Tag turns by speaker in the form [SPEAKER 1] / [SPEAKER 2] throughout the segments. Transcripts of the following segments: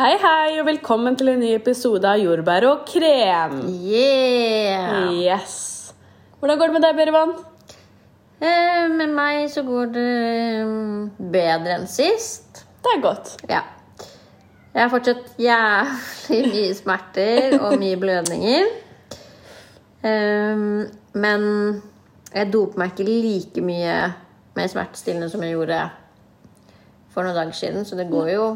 [SPEAKER 1] og velkommen til en ny episode av Jordbær og krem.
[SPEAKER 2] Yeah!
[SPEAKER 1] Yes. Hvordan går det med deg, Bjørvann?
[SPEAKER 2] Eh, med meg så går det mm, bedre enn sist.
[SPEAKER 1] Det er godt.
[SPEAKER 2] Ja. Jeg har fortsatt jævlig mye smerter og mye blødninger. Um, men jeg doper meg ikke like mye med smertestillende som jeg gjorde for noen dager siden, så det går jo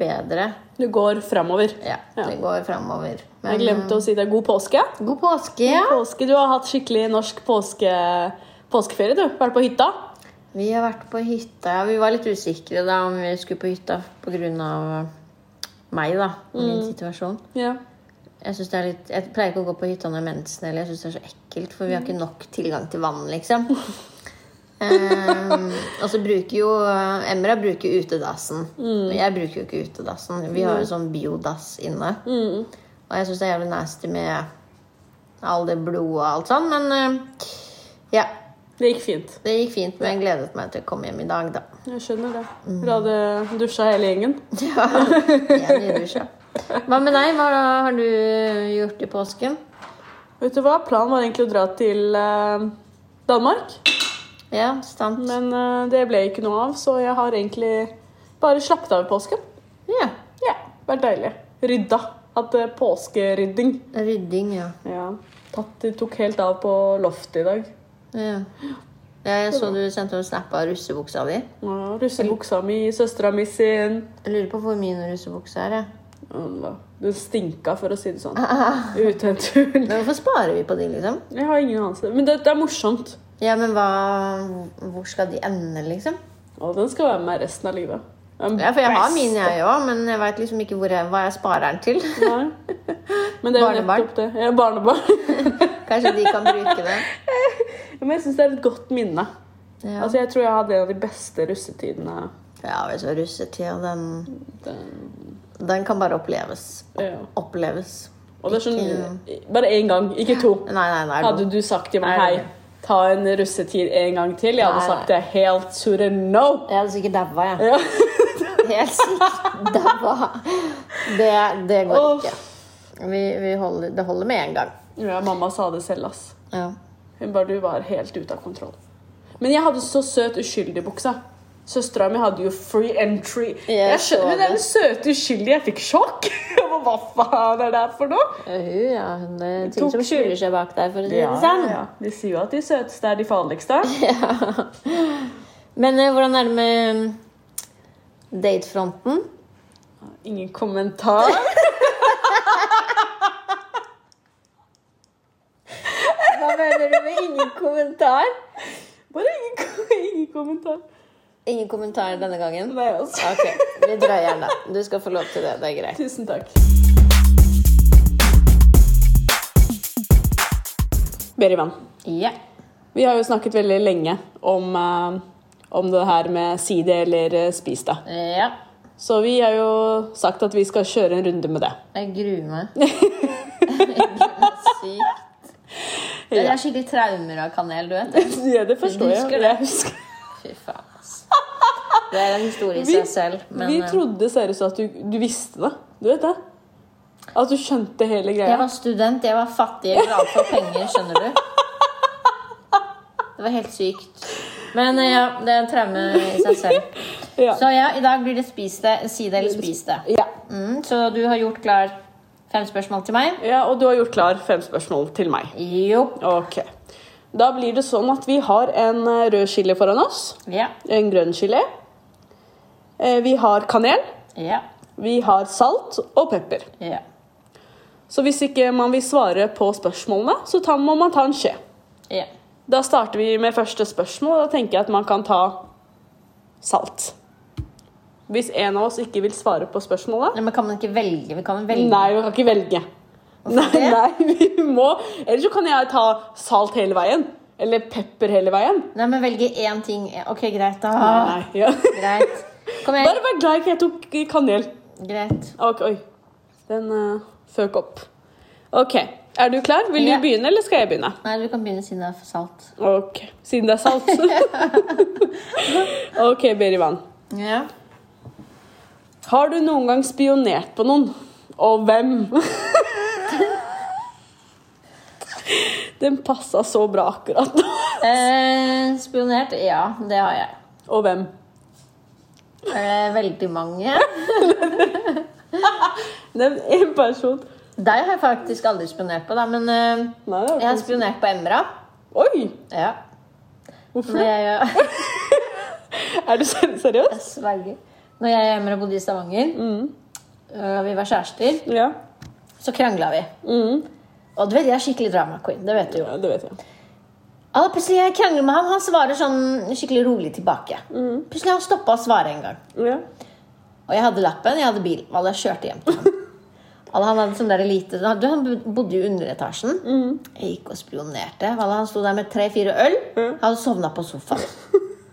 [SPEAKER 2] bedre.
[SPEAKER 1] Du går framover.
[SPEAKER 2] Ja, det går framover.
[SPEAKER 1] Jeg
[SPEAKER 2] Men
[SPEAKER 1] glemte å si deg god påske.
[SPEAKER 2] god påske! Ja.
[SPEAKER 1] Påske, Du har hatt skikkelig norsk påske, påskeferie, du. Vært på hytta.
[SPEAKER 2] Vi har vært på hytta. ja. Vi var litt usikre da om vi skulle på hytta pga. meg, da. og Min situasjon.
[SPEAKER 1] Ja.
[SPEAKER 2] Jeg, synes det er litt, jeg pleier ikke å gå på hytta når jeg har mensen, eller jeg syns det er så ekkelt, for vi har ikke nok tilgang til vann, liksom. Ehm, og så bruker jo Emra bruker utedassen. Men Jeg bruker jo ikke utedassen. Vi har jo sånn biodass inne. Og jeg syns det er jævlig nasty med all det blodet og alt sånn, men eh, ja.
[SPEAKER 1] Det gikk fint.
[SPEAKER 2] Det gikk fint, men jeg gledet meg til å komme hjem i dag, da.
[SPEAKER 1] Jeg skjønner det.
[SPEAKER 2] Mm.
[SPEAKER 1] Dere hadde dusja hele gjengen.
[SPEAKER 2] Ja, igjen i dusja. Hva med deg? Hva har du gjort i påsken?
[SPEAKER 1] Vet du hva? Planen var egentlig å dra til eh, Danmark.
[SPEAKER 2] Ja, sant.
[SPEAKER 1] Men eh, det ble ikke noe av, så jeg har egentlig bare slappet av i påsken.
[SPEAKER 2] Ja.
[SPEAKER 1] Ja, vært deilig. Rydda. Hatt eh, påskerydding.
[SPEAKER 2] Rydding, ja.
[SPEAKER 1] Ja. Tatti eh, tok helt av på loftet i dag.
[SPEAKER 2] ja. Ja, Jeg så du sendte en snap av russebuksa di.
[SPEAKER 1] Ja, Russebuksa mi, søstera mi sin
[SPEAKER 2] Jeg lurer på hvor min russebukse er. jeg.
[SPEAKER 1] Alla. Den stinka, for å si det sånn. Uten tull.
[SPEAKER 2] Men hvorfor sparer vi på de, liksom?
[SPEAKER 1] Jeg har ingen anelse. Men det, det er morsomt.
[SPEAKER 2] Ja, men hva Hvor skal de ende, liksom?
[SPEAKER 1] Og den skal være med resten av livet. Den
[SPEAKER 2] Ja, for jeg har
[SPEAKER 1] beste.
[SPEAKER 2] min, jeg òg, men jeg veit liksom ikke hvor jeg, hva jeg sparer den til.
[SPEAKER 1] Nei. Men det er jo
[SPEAKER 2] Barnebarn.
[SPEAKER 1] nettopp det. Ja, barnebarn.
[SPEAKER 2] Kanskje de kan bruke det.
[SPEAKER 1] Men jeg syns det er et godt minne.
[SPEAKER 2] Ja,
[SPEAKER 1] Altså, Jeg tror jeg hadde en av de beste russetidene.
[SPEAKER 2] ja vet du hva, russetida, den,
[SPEAKER 1] Den,
[SPEAKER 2] den kan bare oppleves.
[SPEAKER 1] ja.
[SPEAKER 2] Oppleves.
[SPEAKER 1] Og det er sånn Bare én gang, ikke to.
[SPEAKER 2] Nei, nei, nei.
[SPEAKER 1] Hadde du sagt til meg
[SPEAKER 2] Nei.
[SPEAKER 1] hei, ta en russetid en gang til, jeg hadde
[SPEAKER 2] Nei,
[SPEAKER 1] sagt det helt sure no.
[SPEAKER 2] Jeg hadde sikkert daua, jeg.
[SPEAKER 1] Ja.
[SPEAKER 2] Helt sikkert daua. Det, det går
[SPEAKER 1] Uff.
[SPEAKER 2] ikke. Vi, vi holder, det holder med én gang.
[SPEAKER 1] ja, mamma sa det selv, ass.
[SPEAKER 2] Ja.
[SPEAKER 1] Hun bare du var helt ute av kontroll. Men jeg hadde så søt uskyldig buksa. Søstera mi hadde jo free entry.
[SPEAKER 2] Jeg
[SPEAKER 1] Jeg
[SPEAKER 2] så
[SPEAKER 1] skjønner
[SPEAKER 2] det.
[SPEAKER 1] den søte uskyldige. Jeg fikk sjokk. Jeg bare, Hva faen er det her for noe?
[SPEAKER 2] ja, hun er ting Tok- som skjuler seg bak deg, for å si
[SPEAKER 1] Ja,
[SPEAKER 2] det sånn.
[SPEAKER 1] ja. De sier jo at de søteste er de farligste.
[SPEAKER 2] Men eh, hvordan er det med datefronten?
[SPEAKER 1] Ingen kommentar.
[SPEAKER 2] Hva mener du med ingen kommentar?
[SPEAKER 1] Bare ingen, kom- ingen kommentar.
[SPEAKER 2] Ingen kommentar denne gangen?
[SPEAKER 1] Nei, altså.
[SPEAKER 2] Ok, vi drøyer den, da. Du skal få lov til det. Det er greit.
[SPEAKER 1] Tusen takk. Berivan,
[SPEAKER 2] Ja.
[SPEAKER 1] vi har jo snakket veldig lenge om, eh, om det her med si det eller eh, spis det.
[SPEAKER 2] ja.
[SPEAKER 1] Så vi har jo sagt at vi skal kjøre en runde med det.
[SPEAKER 2] Jeg gruer meg. Jeg gruer meg sykt. Jeg har skikkelig traumer av kanel, du vet. det.
[SPEAKER 1] Ja, det forstår
[SPEAKER 2] Du
[SPEAKER 1] jeg.
[SPEAKER 2] husker det?
[SPEAKER 1] jeg husker.
[SPEAKER 2] Fy faen, ass. Det er en historie i
[SPEAKER 1] Vi-
[SPEAKER 2] seg selv, men
[SPEAKER 1] vi
[SPEAKER 2] eh,
[SPEAKER 1] trodde seriøst at du, du visste det. Du vet det? At du skjønte hele
[SPEAKER 2] jeg
[SPEAKER 1] greia.
[SPEAKER 2] var student, jeg var fattig, jeg glad for penger, skjønner du. Det var helt sykt. Men eh, ja, det er en traume i seg selv.
[SPEAKER 1] Ja.
[SPEAKER 2] Så ja, i dag blir det spis det, si det eller spis det.
[SPEAKER 1] Ja.
[SPEAKER 2] Mm, så du har gjort klar fem spørsmål til meg?
[SPEAKER 1] ja, og du har gjort klar fem spørsmål til meg.
[SPEAKER 2] Jo.
[SPEAKER 1] Ok. Da blir det sånn at vi har en eh, rød chili foran oss.
[SPEAKER 2] Ja.
[SPEAKER 1] En grønn chili. Eh, Vi har kanel.
[SPEAKER 2] Ja.
[SPEAKER 1] Vi har salt og pepper.
[SPEAKER 2] Ja.
[SPEAKER 1] Så hvis ikke man vil svare på spørsmålene, så ta, må man ta en skje.
[SPEAKER 2] ja.
[SPEAKER 1] Da starter vi med første spørsmål. Da tenker jeg at man kan ta salt. Hvis en av oss ikke vil svare på spørsmålet
[SPEAKER 2] Nei, Men kan man ikke velge? Vi kan velge.
[SPEAKER 1] Nei, vi kan ikke velge. Nei,
[SPEAKER 2] det?
[SPEAKER 1] nei, vi må Ellers så kan jeg ta salt hele veien. Eller pepper hele veien.
[SPEAKER 2] Nei, men velge én ting. Ok, greit, da.
[SPEAKER 1] Ah, Nei, ja.
[SPEAKER 2] Ah, Greit. Kom igjen.
[SPEAKER 1] Bare vær glad ikke jeg tok kanel. Ah,
[SPEAKER 2] Greit.
[SPEAKER 1] Ok, oi. Den uh, føk opp. Ok, er du klar? Vil
[SPEAKER 2] Ja.
[SPEAKER 1] du begynne, eller skal jeg begynne?
[SPEAKER 2] Nei, du kan begynne siden det er for salt.
[SPEAKER 1] Ok, Siden det er salt. ok, Berivan.
[SPEAKER 2] Ja.
[SPEAKER 1] Har du noen gang spionert på noen? Og hvem? Den passa så bra akkurat nå.
[SPEAKER 2] Eh, spionert? Ja, det har jeg.
[SPEAKER 1] Og hvem?
[SPEAKER 2] Eh, veldig mange.
[SPEAKER 1] Nevn én person.
[SPEAKER 2] Deg har jeg faktisk aldri spionert på, da, men eh,
[SPEAKER 1] Nei, det
[SPEAKER 2] jeg
[SPEAKER 1] var
[SPEAKER 2] har
[SPEAKER 1] ikke.
[SPEAKER 2] spionert på Emra.
[SPEAKER 1] Oi!
[SPEAKER 2] Ja.
[SPEAKER 1] Hvorfor
[SPEAKER 2] Når
[SPEAKER 1] det?
[SPEAKER 2] jeg,
[SPEAKER 1] Er du ser- seriøs?
[SPEAKER 2] jeg sverger. Når jeg og Emra bodde i Stavanger,
[SPEAKER 1] Mm.
[SPEAKER 2] eh, og vi var kjærester,
[SPEAKER 1] Ja.
[SPEAKER 2] så krangla vi.
[SPEAKER 1] Mm.
[SPEAKER 2] Og du vet, jeg er skikkelig drama queen. Det vet du jo.
[SPEAKER 1] ja. Det vet jeg.
[SPEAKER 2] Ja, da plutselig jeg krangler med han, han svarer sånn skikkelig rolig tilbake.
[SPEAKER 1] Mm.
[SPEAKER 2] Plutselig har han stoppa å svare en gang.
[SPEAKER 1] Ja.
[SPEAKER 2] Og jeg hadde lappen, jeg hadde bil. Og jeg kjørte hjem til ham. Alle han hadde sånn der lite du, Han bodde jo i underetasjen.
[SPEAKER 1] Mm.
[SPEAKER 2] Jeg gikk og spionerte. Alle han sto der med tre-fire øl. Han
[SPEAKER 1] Mm.
[SPEAKER 2] hadde sovna på sofaen.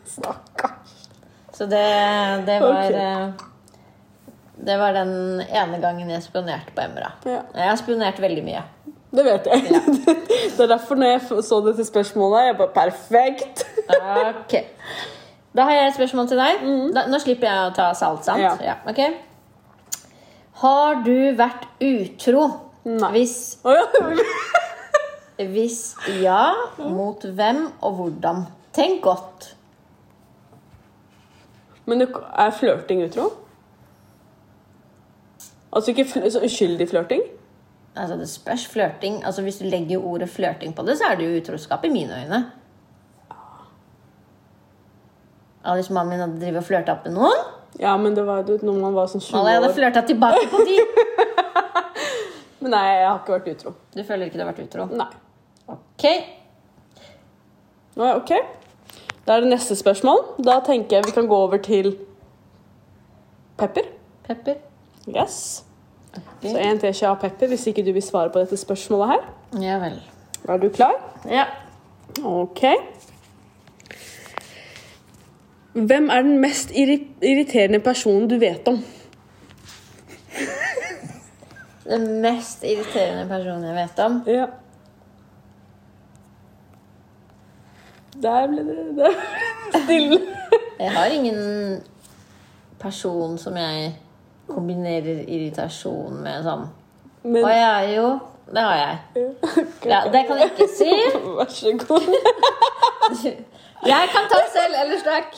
[SPEAKER 1] Stakkars.
[SPEAKER 2] Så det, det var
[SPEAKER 1] Ok.
[SPEAKER 2] eh, Det var den ene gangen jeg spionerte på Emra.
[SPEAKER 1] Ja.
[SPEAKER 2] Jeg har spionert veldig mye.
[SPEAKER 1] Det vet jeg. Det er derfor når jeg f- så dette spørsmålet, jeg bare perfekt.
[SPEAKER 2] Ok. Da har jeg et spørsmål til deg. Da, nå slipper jeg å ta salt, sant?
[SPEAKER 1] Mm. Ja.
[SPEAKER 2] ok. Har du vært utro?
[SPEAKER 1] Nei.
[SPEAKER 2] Hvis,
[SPEAKER 1] Å ja.
[SPEAKER 2] hvis ja,
[SPEAKER 1] Mm.
[SPEAKER 2] mot hvem og hvordan? Tenk godt.
[SPEAKER 1] Men det er flørting utro? Altså ikke fl så uskyldig flørting?
[SPEAKER 2] Altså, det spørs flørting. Altså, hvis du legger ordet flørting på det, så er det jo utroskap i mine øyne. Ja, hvis mannen min hadde drevet og flørta opp med noen
[SPEAKER 1] Ja, men det var jo når man var sånn 20
[SPEAKER 2] Alle hadde
[SPEAKER 1] år.
[SPEAKER 2] flørta tilbake på de.
[SPEAKER 1] Men nei, jeg har ikke vært utro.
[SPEAKER 2] Du føler ikke du har vært utro?
[SPEAKER 1] Nei.
[SPEAKER 2] Ok.
[SPEAKER 1] Nå er- Ok. Da er det neste spørsmål. Da tenker jeg vi kan gå over til pepper.
[SPEAKER 2] Pepper.
[SPEAKER 1] Yes. Så
[SPEAKER 2] Mm.
[SPEAKER 1] en teskje av pepper hvis ikke du vil svare på dette spørsmålet her.
[SPEAKER 2] Ja vel.
[SPEAKER 1] Er du klar?
[SPEAKER 2] Ja.
[SPEAKER 1] Ok. Hvem er den mest irri irriterende personen du vet om?
[SPEAKER 2] Den mest irriterende personen jeg vet om.
[SPEAKER 1] Ja. Der ble det der ble det stille.
[SPEAKER 2] Jeg har ingen person som jeg kombinerer irritasjon med sånn.
[SPEAKER 1] Men
[SPEAKER 2] Og jeg er jo Det har jeg.
[SPEAKER 1] Ok,
[SPEAKER 2] Ja, det kan jeg ikke si.
[SPEAKER 1] Vær så god.
[SPEAKER 2] Jeg kan ta selv, ellers takk.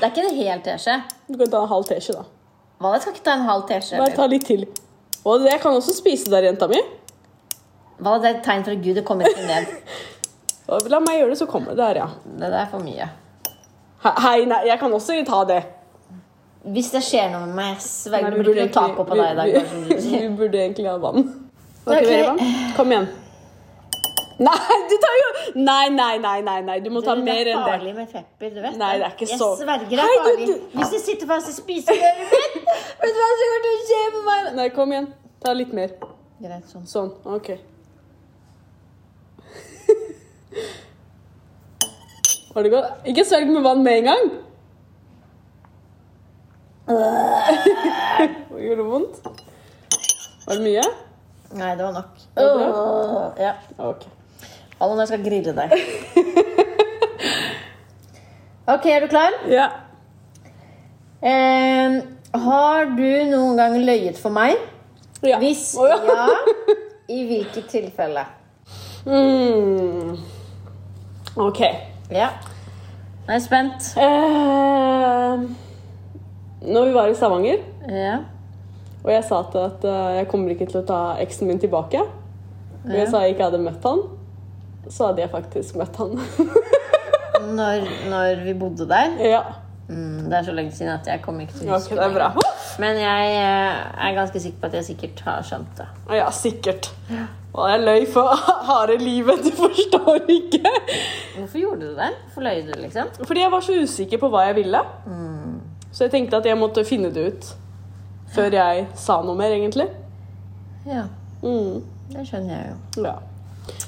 [SPEAKER 2] Det er ikke en hel teskje.
[SPEAKER 1] Du kan ta en halv teskje, da.
[SPEAKER 2] Hva, jeg skal ikke ta en halv teskje.
[SPEAKER 1] Bare ta litt til. Og jeg kan også spise der, jenta mi.
[SPEAKER 2] Hva er det et tegn fra Gud? Det kommer ikke ned.
[SPEAKER 1] Og La meg gjøre det, så kommer det der, ja.
[SPEAKER 2] Det der er for mye.
[SPEAKER 1] He- Hei, nei, jeg kan også ta det.
[SPEAKER 2] Hvis det skjer noe med meg, jeg
[SPEAKER 1] Nei,
[SPEAKER 2] sverger det blir ikke noe taco på deg i dag.
[SPEAKER 1] vi-
[SPEAKER 2] kanskje, som du
[SPEAKER 1] vi,
[SPEAKER 2] sier.
[SPEAKER 1] vi burde egentlig ha vann.
[SPEAKER 2] Ok.
[SPEAKER 1] Okay. Vann? Kom igjen. Nei, du tar jo Nei, nei, nei, nei, nei. du må ta mer
[SPEAKER 2] det er
[SPEAKER 1] enn det.
[SPEAKER 2] farlig med pepper, du vet.
[SPEAKER 1] Nei, det er ikke
[SPEAKER 2] jeg
[SPEAKER 1] så-
[SPEAKER 2] sverger det
[SPEAKER 1] Hei,
[SPEAKER 2] er
[SPEAKER 1] du-
[SPEAKER 2] farlig.
[SPEAKER 1] du-
[SPEAKER 2] Hvis det sitter fast i spiseøret mitt, vet du hva som kommer til å skje med meg?
[SPEAKER 1] Nei, kom igjen. Ta litt mer.
[SPEAKER 2] Greit, sånn.
[SPEAKER 1] Sånn. OK. Var det godt? Ikke svelg med vann med en gang. Gjorde det vondt? Var det mye?
[SPEAKER 2] Nei, det var nok.
[SPEAKER 1] det
[SPEAKER 2] Åh, ja.
[SPEAKER 1] OK.
[SPEAKER 2] Hallo, nå skal jeg grille deg. Ok, er du klar?
[SPEAKER 1] Ja.
[SPEAKER 2] Eh, har du noen gang løyet for meg?
[SPEAKER 1] ja.
[SPEAKER 2] Hvis
[SPEAKER 1] Å, ja.
[SPEAKER 2] ja, i hvilket tilfelle?
[SPEAKER 1] Mm. OK.
[SPEAKER 2] Ja. Nå er jeg spent.
[SPEAKER 1] Eh, når vi var i Stavanger,
[SPEAKER 2] Ja.
[SPEAKER 1] og jeg sa til at eh, jeg kommer ikke til å ta eksen min tilbake Og jeg sa jeg ikke hadde møtt han, så hadde jeg faktisk møtt han.
[SPEAKER 2] Når, når vi bodde der.
[SPEAKER 1] ja.
[SPEAKER 2] Mm, det er så lenge siden at jeg kommer ikke til å
[SPEAKER 1] Ok,
[SPEAKER 2] huske
[SPEAKER 1] det er bra.
[SPEAKER 2] Men jeg eh, er ganske sikker på at jeg sikkert har skjønt det.
[SPEAKER 1] Ja, sikkert. Og jeg løy for harde livet, du forstår ikke.
[SPEAKER 2] Hvorfor gjorde du det? Hvorfor løy du, liksom?
[SPEAKER 1] Fordi jeg var så usikker på hva jeg ville.
[SPEAKER 2] Mm.
[SPEAKER 1] Så jeg tenkte at jeg måtte finne det ut før jeg sa noe mer, egentlig.
[SPEAKER 2] Ja,
[SPEAKER 1] Mm.
[SPEAKER 2] det skjønner jeg jo.
[SPEAKER 1] Ja.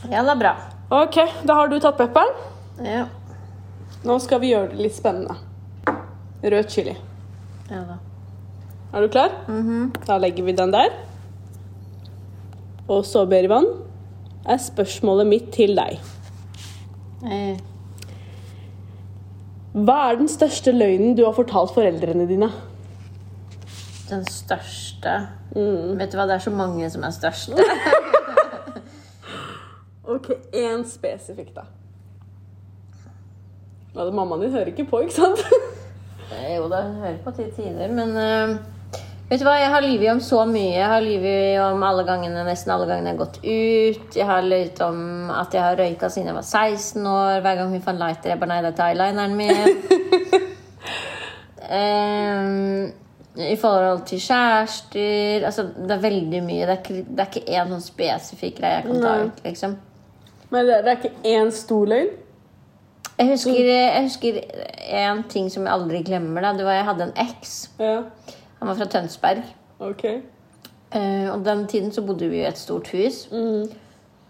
[SPEAKER 2] Ja, det er bra.
[SPEAKER 1] Ok, da har du tatt pepperen.
[SPEAKER 2] Ja,
[SPEAKER 1] Nå skal vi gjøre det litt spennende. Rød chili.
[SPEAKER 2] ja da.
[SPEAKER 1] Er du klar? Da legger vi den der. Og så, Berivan, er spørsmålet mitt til deg.
[SPEAKER 2] Eh,
[SPEAKER 1] Hva er den største løgnen du har fortalt foreldrene dine?
[SPEAKER 2] Den største Vet du hva, det er så mange som er størst. Det
[SPEAKER 1] Ok, én spesifikk, da. Ja, det, mammaen din hører ikke på, ikke sant?
[SPEAKER 2] er Eh, Jo da, jeg hører på til tider, men eh, Vet du hva, jeg har lyvet om så mye. Jeg har lyvet om alle gangene, nesten alle gangene jeg har gått ut. Jeg har lyvet om at jeg har røyka siden jeg var 16 år. Hver gang hun fant lighter, jeg bare nei, det er eyelineren min. Ehm, I forhold til kjærester Altså, det er veldig mye. Det er ikke, det er ikke én sånn spesifikk greie jeg kan ta ut, liksom.
[SPEAKER 1] Men det, det er ikke én stor løgn.
[SPEAKER 2] Jeg husker, jeg husker en ting som jeg aldri glemmer. Da. Det var Jeg hadde en eks.
[SPEAKER 1] Ja,
[SPEAKER 2] Han var fra Tønsberg.
[SPEAKER 1] ok.
[SPEAKER 2] Eh, og den tiden så bodde vi i et stort hus.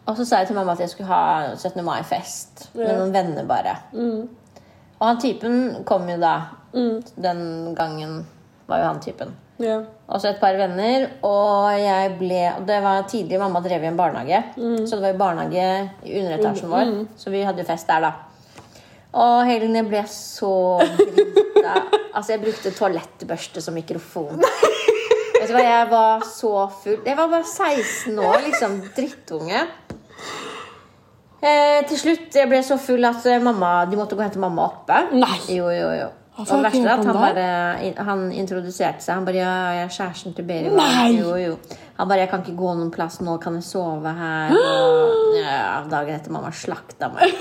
[SPEAKER 2] Og så sa jeg til mamma at jeg skulle ha 17. mai-fest med
[SPEAKER 1] Ja.
[SPEAKER 2] noen venner bare. Og han typen kom jo da. Den gangen var jo han typen.
[SPEAKER 1] Ja.
[SPEAKER 2] Og så et par venner, og jeg ble og Det var tidlig mamma drev i en barnehage.
[SPEAKER 1] Mm.
[SPEAKER 2] Så det var jo barnehage i underetasjen vår, så vi hadde jo fest der, da. Og Helen, jeg ble så drita. altså, jeg brukte toalettbørste som mikrofon. Vet du hva, jeg var så full. Jeg var bare 16 år, liksom. Drittunge. Eh, til slutt jeg ble så full at eh, mamma, de måtte gå og hente mamma oppe.
[SPEAKER 1] Nei.
[SPEAKER 2] Jo, jo, jo.
[SPEAKER 1] Hva
[SPEAKER 2] Og
[SPEAKER 1] for
[SPEAKER 2] det verste er at
[SPEAKER 1] ting
[SPEAKER 2] han
[SPEAKER 1] kom der?
[SPEAKER 2] bare eh, Han introduserte seg. Han bare ja, 'Jeg er kjæresten til Berit.'
[SPEAKER 1] Nei!
[SPEAKER 2] Jo, jo. Han bare 'Jeg kan ikke gå noen plass nå. Kan jeg sove her?' Og, ja, dagen etter mamma slakta meg.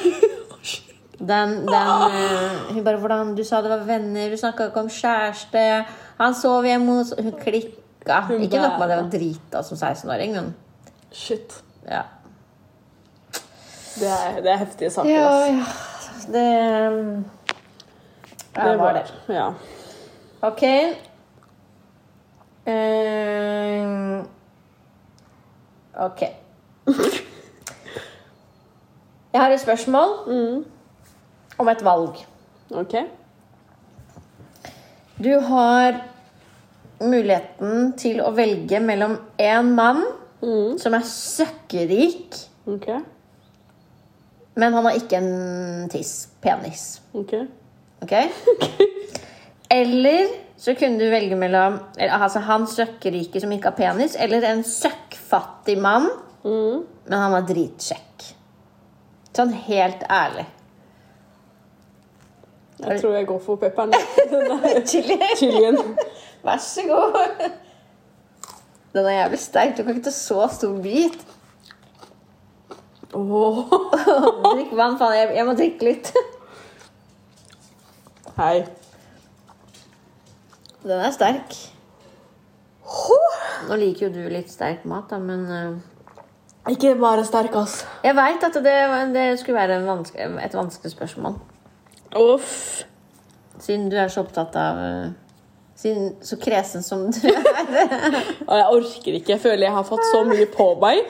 [SPEAKER 2] Den, den eh, Hun bare 'Hvordan Du sa det var venner. Du snakka ikke om kjæreste.' Han sov hjemme hos Hun klikka.
[SPEAKER 1] Hun
[SPEAKER 2] Ikke nok med at
[SPEAKER 1] bare-
[SPEAKER 2] jeg var drita som 16-åring, men
[SPEAKER 1] Shit.
[SPEAKER 2] ja.
[SPEAKER 1] Det er, det er heftige saker.
[SPEAKER 2] Ja,
[SPEAKER 1] ass.
[SPEAKER 2] ja. Det Ja, var det.
[SPEAKER 1] Ja.
[SPEAKER 2] Ok. Ehm, ok. Jeg har et spørsmål om et valg.
[SPEAKER 1] Ok.
[SPEAKER 2] Du har muligheten til å velge mellom en mann som er søkkerik,
[SPEAKER 1] Ok.
[SPEAKER 2] men han har ikke en tiss, penis.
[SPEAKER 1] Ok.
[SPEAKER 2] Ok? Eller så kunne du velge mellom eller, altså, han søkkrike som ikke har penis, eller en søkkfattig mann,
[SPEAKER 1] Mm.
[SPEAKER 2] men han var dritsjekk. Sånn helt ærlig.
[SPEAKER 1] Jeg tror jeg går for pepperen. Den der Chilien.
[SPEAKER 2] Vær så god. Den er jævlig sterk. Du kan ikke ta så stor bit.
[SPEAKER 1] Åh.
[SPEAKER 2] Drikk vann, faen. Jeg, jeg må drikke litt.
[SPEAKER 1] Hei.
[SPEAKER 2] Den er sterk. Nå liker jo du litt sterk mat, da, men eh,
[SPEAKER 1] Ikke bare sterk, ass.
[SPEAKER 2] Jeg veit at det, det skulle være en vanske, et vanskelig spørsmål.
[SPEAKER 1] Uff.
[SPEAKER 2] Siden du er så opptatt av eh, siden, Så kresen som du er.
[SPEAKER 1] Og jeg orker ikke. Jeg føler jeg har fått så mye på meg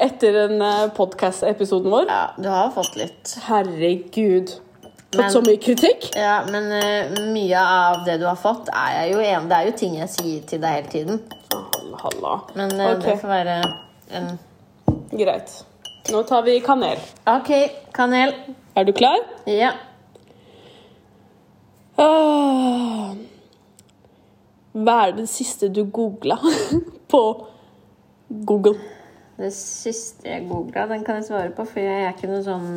[SPEAKER 1] etter den eh, podcast-episoden vår.
[SPEAKER 2] Ja, du har fått litt.
[SPEAKER 1] Herregud. Fått
[SPEAKER 2] Men-
[SPEAKER 1] så mye kritikk.
[SPEAKER 2] Ja, men eh, mye av det du har fått, er jeg jo enig Det er jo ting jeg sier til deg hele tiden.
[SPEAKER 1] Halla, halla.
[SPEAKER 2] Men eh,
[SPEAKER 1] Ok.
[SPEAKER 2] det får være en
[SPEAKER 1] Greit. Nå tar vi kanel.
[SPEAKER 2] OK, kanel.
[SPEAKER 1] Er du klar?
[SPEAKER 2] Ja.
[SPEAKER 1] Åh. Hva er det siste du googla på Google?
[SPEAKER 2] Det siste jeg googla, den kan jeg svare på, for jeg er ikke noe sånn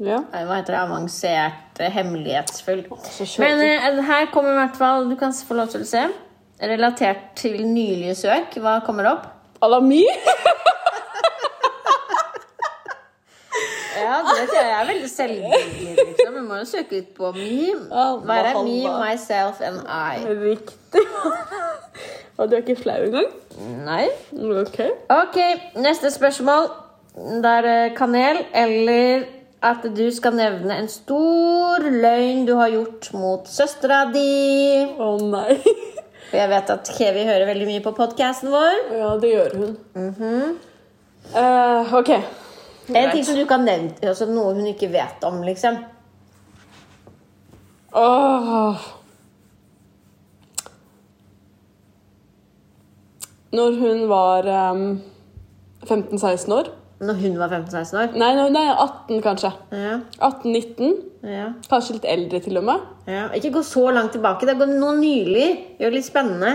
[SPEAKER 1] Ja.
[SPEAKER 2] Nei, Hva heter det? Avansert, eh, hemmelighetsfull.
[SPEAKER 1] så kjøper-
[SPEAKER 2] Men eh, her kommer i hvert fall Du kan s- få lov til å se. Relatert til nylige søk. Hva kommer opp?
[SPEAKER 1] Alami?
[SPEAKER 2] Ja, det vet jeg. Jeg er veldig selvbilder, liksom. Jeg må jo søke litt på meme.
[SPEAKER 1] Ja,
[SPEAKER 2] Hva er det?
[SPEAKER 1] hva-
[SPEAKER 2] me, myself and I?
[SPEAKER 1] Riktig. Og du er ikke flau engang?
[SPEAKER 2] Nei.
[SPEAKER 1] Ok.
[SPEAKER 2] Ok, neste spørsmål. Det er eh, kanel eller at du skal nevne en stor løgn du har gjort mot søstera di.
[SPEAKER 1] Å nei.
[SPEAKER 2] For jeg vet at Kevi hører veldig mye på podkasten vår.
[SPEAKER 1] Ja, det gjør hun. Eh, ok.
[SPEAKER 2] En ting som du ikke har nevnt, altså noe hun ikke vet om, liksom.
[SPEAKER 1] Åh. Når hun var em, 15-16 år
[SPEAKER 2] Når hun var 15-16 år.
[SPEAKER 1] Nei, nei, nei 18 kanskje.
[SPEAKER 2] Ja,
[SPEAKER 1] 18-19.
[SPEAKER 2] ja,
[SPEAKER 1] Kanskje litt eldre til og med.
[SPEAKER 2] ja. Ikke gå så langt tilbake. Det går noe nylig. Gjør det litt spennende.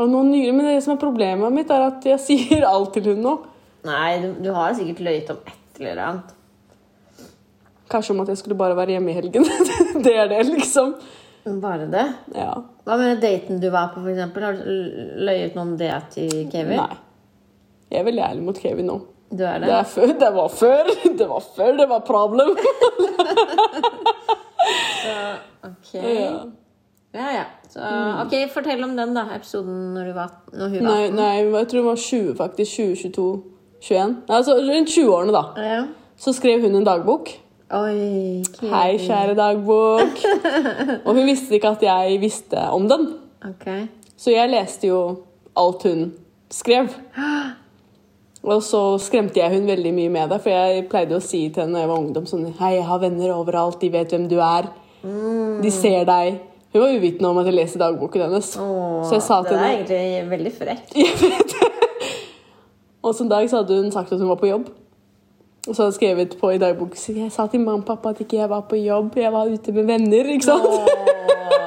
[SPEAKER 1] Og noen nyere, men det som er problemet mitt, er at jeg sier alt til hun nå.
[SPEAKER 2] Nei, du, du har sikkert løyet om et eller annet.
[SPEAKER 1] Kanskje om at jeg skulle bare være hjemme i helgen. det er det, liksom.
[SPEAKER 2] Bare det?
[SPEAKER 1] Ja.
[SPEAKER 2] Hva med daten du var på, for eksempel? Har du l- løyet noe om det til Kevin?
[SPEAKER 1] Nei. Jeg er veldig ærlig mot Kevin nå.
[SPEAKER 2] Du er
[SPEAKER 1] Det,
[SPEAKER 2] det?
[SPEAKER 1] er før, det var før. Det var før det var problem.
[SPEAKER 2] Ok.
[SPEAKER 1] Ja. Mm.
[SPEAKER 2] Ja, ja. Så, ok, fortell om den da, episoden når, du var, når hun var
[SPEAKER 1] Nei, nei, jeg tror hun var 20, faktisk. 2022. 21. Nei, Altså rundt 20-årene, da.
[SPEAKER 2] Ja.
[SPEAKER 1] Så skrev hun en dagbok.
[SPEAKER 2] Oi, Kevin.
[SPEAKER 1] Hei, kjære dagbok. Og hun visste ikke at jeg visste om den.
[SPEAKER 2] Ok.
[SPEAKER 1] Så jeg leste jo alt hun skrev. Og så skremte jeg hun veldig mye med det, for jeg pleide å si til henne når jeg var ungdom sånn Hei, jeg har venner overalt, de vet hvem du er.
[SPEAKER 2] Mm.
[SPEAKER 1] De ser deg. Hun var uvitende om at jeg leser dagboken hennes.
[SPEAKER 2] Åh,
[SPEAKER 1] så jeg sa til
[SPEAKER 2] Det er
[SPEAKER 1] henne
[SPEAKER 2] egentlig veldig frekt.
[SPEAKER 1] Og så en dag så hadde hun sagt at hun var på jobb. Og så hadde hun skrevet på i dagboken så Jeg sa til mamma og pappa at ikke jeg var på jobb, jeg var ute med venner. ikke sant?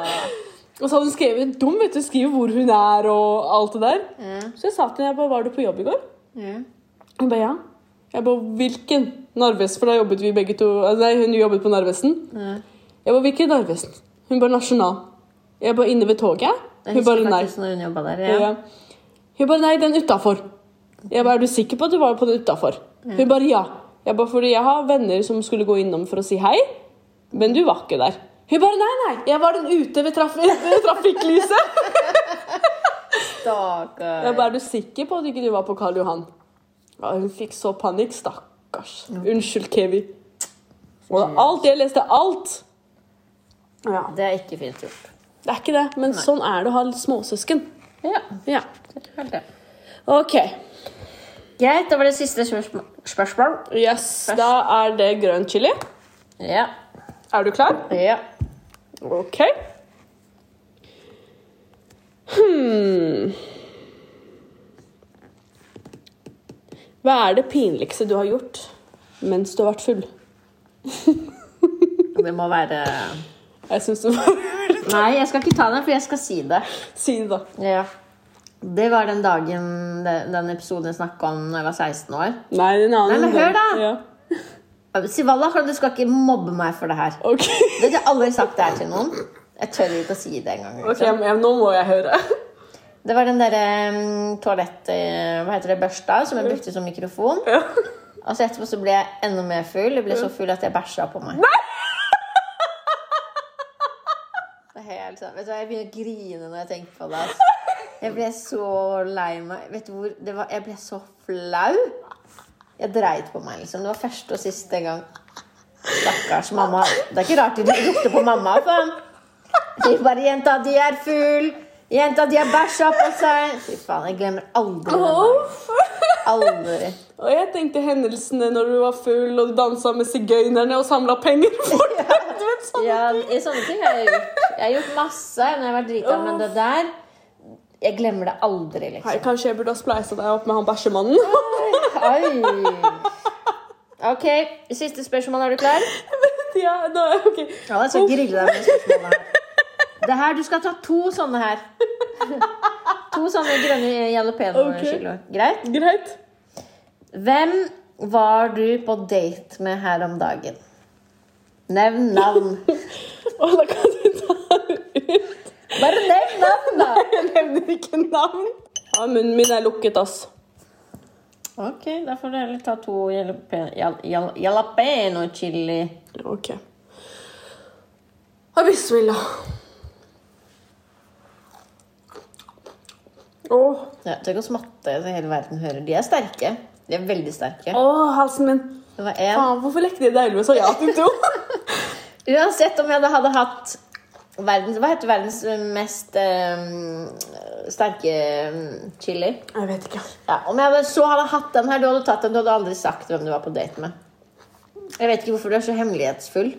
[SPEAKER 1] Og så hadde hun skrevet dum, vet du, skriver hvor hun er og alt det der.
[SPEAKER 2] Ja.
[SPEAKER 1] Så jeg sa til henne jeg bare, var du på jobb i går?
[SPEAKER 2] Ja.
[SPEAKER 1] Hun ba ja. Jeg ba hvilken Narvesen? For da jobbet vi begge to altså, Nei, hun jobbet på Narvesen.
[SPEAKER 2] Ja.
[SPEAKER 1] Jeg ba hvilken Narvesen? Hun ba nasjonal. Jeg ba inne ved toget.
[SPEAKER 2] Jeg
[SPEAKER 1] Hun
[SPEAKER 2] husker
[SPEAKER 1] bare nei.
[SPEAKER 2] faktisk når hun jobbet der. Ja.
[SPEAKER 1] Ja. Hun bare nei, den utafor. Jeg bare er du sikker på at du var på den utafor? Hun bare ja. Jeg bare fordi jeg har venner som skulle gå innom for å si hei, men du var ikke der. Hun bare nei, nei, jeg var den ute ved, traf ved trafikklyset.
[SPEAKER 2] Stakkar.
[SPEAKER 1] Jeg bare er du sikker på at ikke du var på Karl Johan? Ja, hun fikk så panikk, stakkars. Unnskyld, Kevi. Og det- alt jeg leste, alt. Ja.
[SPEAKER 2] Det er ikke fint gjort.
[SPEAKER 1] Det er ikke det, men sånn er det å ha litt småsøsken.
[SPEAKER 2] Ja,
[SPEAKER 1] Ja.
[SPEAKER 2] helt det.
[SPEAKER 1] OK.
[SPEAKER 2] Greit, da var det siste spørsmål. spørsmål.
[SPEAKER 1] Yes, da er det grønn chili.
[SPEAKER 2] Ja.
[SPEAKER 1] Er du klar?
[SPEAKER 2] ja.
[SPEAKER 1] Ok. Hmm. Hva er det pinligste du har gjort mens du har vært full?
[SPEAKER 2] Det må være
[SPEAKER 1] Jeg syns du må
[SPEAKER 2] Nei, jeg skal ikke ta den, for jeg skal si det.
[SPEAKER 1] si det, da.
[SPEAKER 2] Ja. Det var den dagen de- den episoden jeg snakka om da jeg var 16 år.
[SPEAKER 1] Nei, det er en annen.
[SPEAKER 2] Nei, men hør da!
[SPEAKER 1] Ja.
[SPEAKER 2] Sivala, du skal ikke mobbe meg for det her.
[SPEAKER 1] Ok,
[SPEAKER 2] Vet du, jeg har aldri sagt det her til noen. Jeg tør ikke å si det engang.
[SPEAKER 1] Ok,
[SPEAKER 2] Liksom.
[SPEAKER 1] men nå må jeg høre.
[SPEAKER 2] Det var den derre mm, toalett... eh, Hva heter det? Børsta, som jeg brukte som mikrofon.
[SPEAKER 1] Ja.
[SPEAKER 2] Og så Altså, etterpå så ble jeg enda mer full. Jeg ble så full at jeg bæsja på meg. Det er helt sant. Vet du hva, Jeg begynner å grine når jeg tenker på det. ass. Jeg ble så lei meg. Vet du hvor det var? Jeg ble så flau. Jeg dreit på meg, liksom. Det var første og siste gang. Stakkars mamma. Det er ikke rart de ropte på mamma. faen. De bare 'Jenta di er full'. 'Jenta di har bæsja på seg'. Fy faen, jeg glemmer aldri den dagen. Aldri.
[SPEAKER 1] Og jeg tenkte hendelsene når du var full og du dansa med sigøynerne og samla penger for dem. Du vet, sånn.
[SPEAKER 2] Ja, i sånne ting har jeg gjort. Jeg har gjort masse når jeg har vært drita, men det der Jeg glemmer det aldri,
[SPEAKER 1] Hei,
[SPEAKER 2] liksom.
[SPEAKER 1] kanskje jeg burde ha spleisa deg opp med han bæsjemannen?
[SPEAKER 2] Oi. Ok, siste spørsmål. Er du klar?
[SPEAKER 1] ja, da, ok.
[SPEAKER 2] Ja, jeg skal grille deg med spørsmålet her. Det her, Du skal ta to sånne her. To sånne grønne
[SPEAKER 1] Ok.
[SPEAKER 2] jalapeño-kiloer. Greit?
[SPEAKER 1] Greit.
[SPEAKER 2] Hvem var du på date med her om dagen? Nevn navn.
[SPEAKER 1] Og da kan du ta ut.
[SPEAKER 2] Bare nevn navn, da!
[SPEAKER 1] Jeg nevner ikke navn. Ja, munnen min er lukket, ass.
[SPEAKER 2] Ok, da får du heller ta to jalape- jal- jal- jalapeno-chili.
[SPEAKER 1] Ok. Ja, Bismillah. Åh,
[SPEAKER 2] Ja, Tenk å smatte så hele verden hører. De er sterke. De er veldig sterke.
[SPEAKER 1] åh, halsen min.
[SPEAKER 2] Det var en.
[SPEAKER 1] Faen, hvorfor lekte jeg deilig med så ja til to?
[SPEAKER 2] Uansett om jeg da hadde hatt verdens, Hva heter verdens mest eh, sterke eh, chili?
[SPEAKER 1] Jeg vet ikke.
[SPEAKER 2] Ja, Om jeg hadde, så hadde hatt den her, du hadde tatt den, du hadde aldri sagt hvem du var på date med. Jeg vet ikke hvorfor du er så hemmelighetsfull.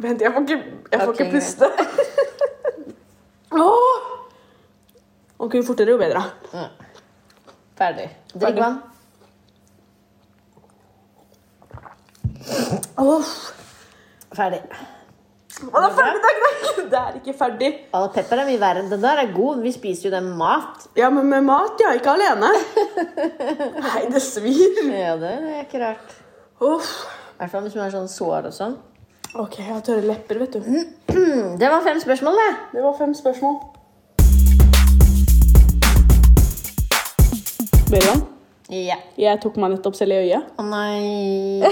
[SPEAKER 1] Vent, jeg får ikke, jeg får
[SPEAKER 2] Ok,
[SPEAKER 1] ikke puste. Åh! Ok, jo fortere jo bedre.
[SPEAKER 2] Ferdig. Drikk
[SPEAKER 1] Ferdig.
[SPEAKER 2] vann.
[SPEAKER 1] Åh,
[SPEAKER 2] Ferdig.
[SPEAKER 1] Og da føler jeg det er greit. Det er ikke ferdig.
[SPEAKER 2] Al pepper er mye verre. Den der er god. Vi spiser jo den med mat.
[SPEAKER 1] Ja, men med mat, ja. Ikke alene. Nei, det svir.
[SPEAKER 2] Ja, det er ikke rart.
[SPEAKER 1] Uff.
[SPEAKER 2] I hvert fall hvis man er sånn sår og sånn.
[SPEAKER 1] Ok, jeg har tørre lepper, vet du.
[SPEAKER 2] Det var fem spørsmål, det.
[SPEAKER 1] Det var fem spørsmål. Beran,
[SPEAKER 2] Ja.
[SPEAKER 1] jeg tok meg nettopp selv i øyet.
[SPEAKER 2] Å nei. Det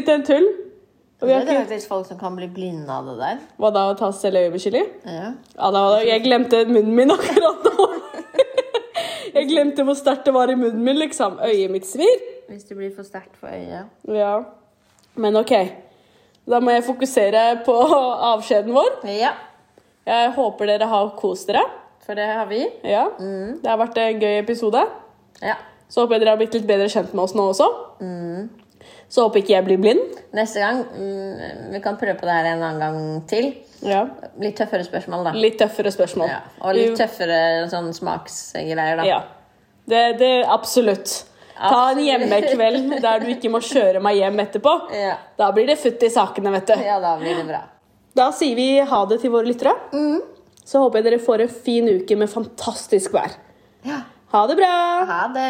[SPEAKER 1] Ut en tull. Og vi har
[SPEAKER 2] er det
[SPEAKER 1] ikke...
[SPEAKER 2] faktisk folk som kan bli blinde av det der.
[SPEAKER 1] Hva da, å ta seg selv i øyet med chili?
[SPEAKER 2] Ja.
[SPEAKER 1] Ja, da, jeg glemte munnen min akkurat nå. Jeg glemte hvor sterkt det var i munnen min, liksom. Øyet mitt svir.
[SPEAKER 2] Hvis det blir for sterkt for øyet.
[SPEAKER 1] Ja. Men ok. Da må jeg fokusere på avskjeden vår.
[SPEAKER 2] Ja,
[SPEAKER 1] Jeg håper dere har kost dere.
[SPEAKER 2] for det har vi.
[SPEAKER 1] Ja.
[SPEAKER 2] Mm.
[SPEAKER 1] Det har vært en gøy episode.
[SPEAKER 2] Ja.
[SPEAKER 1] Så håper jeg dere har blitt litt bedre kjent med oss nå også.
[SPEAKER 2] Mm.
[SPEAKER 1] Så håper ikke jeg blir blind.
[SPEAKER 2] Neste gang mm, Vi kan prøve på det her en annen gang til.
[SPEAKER 1] Ja.
[SPEAKER 2] Litt tøffere spørsmål, da.
[SPEAKER 1] Litt tøffere spørsmål.
[SPEAKER 2] Ja. Og litt tøffere sånn smaksgreier, da.
[SPEAKER 1] Ja. Det, det, absolutt. Ta en
[SPEAKER 2] Absolutt.
[SPEAKER 1] hjemmekveld der du ikke må kjøre meg hjem etterpå.
[SPEAKER 2] Ja.
[SPEAKER 1] Da blir det futt i sakene, vet du.
[SPEAKER 2] ja, da blir det bra.
[SPEAKER 1] Da sier vi ha det til våre lyttere. Så håper jeg dere får en fin uke med fantastisk vær.
[SPEAKER 2] Ja.
[SPEAKER 1] Ha det bra!
[SPEAKER 2] Ha det.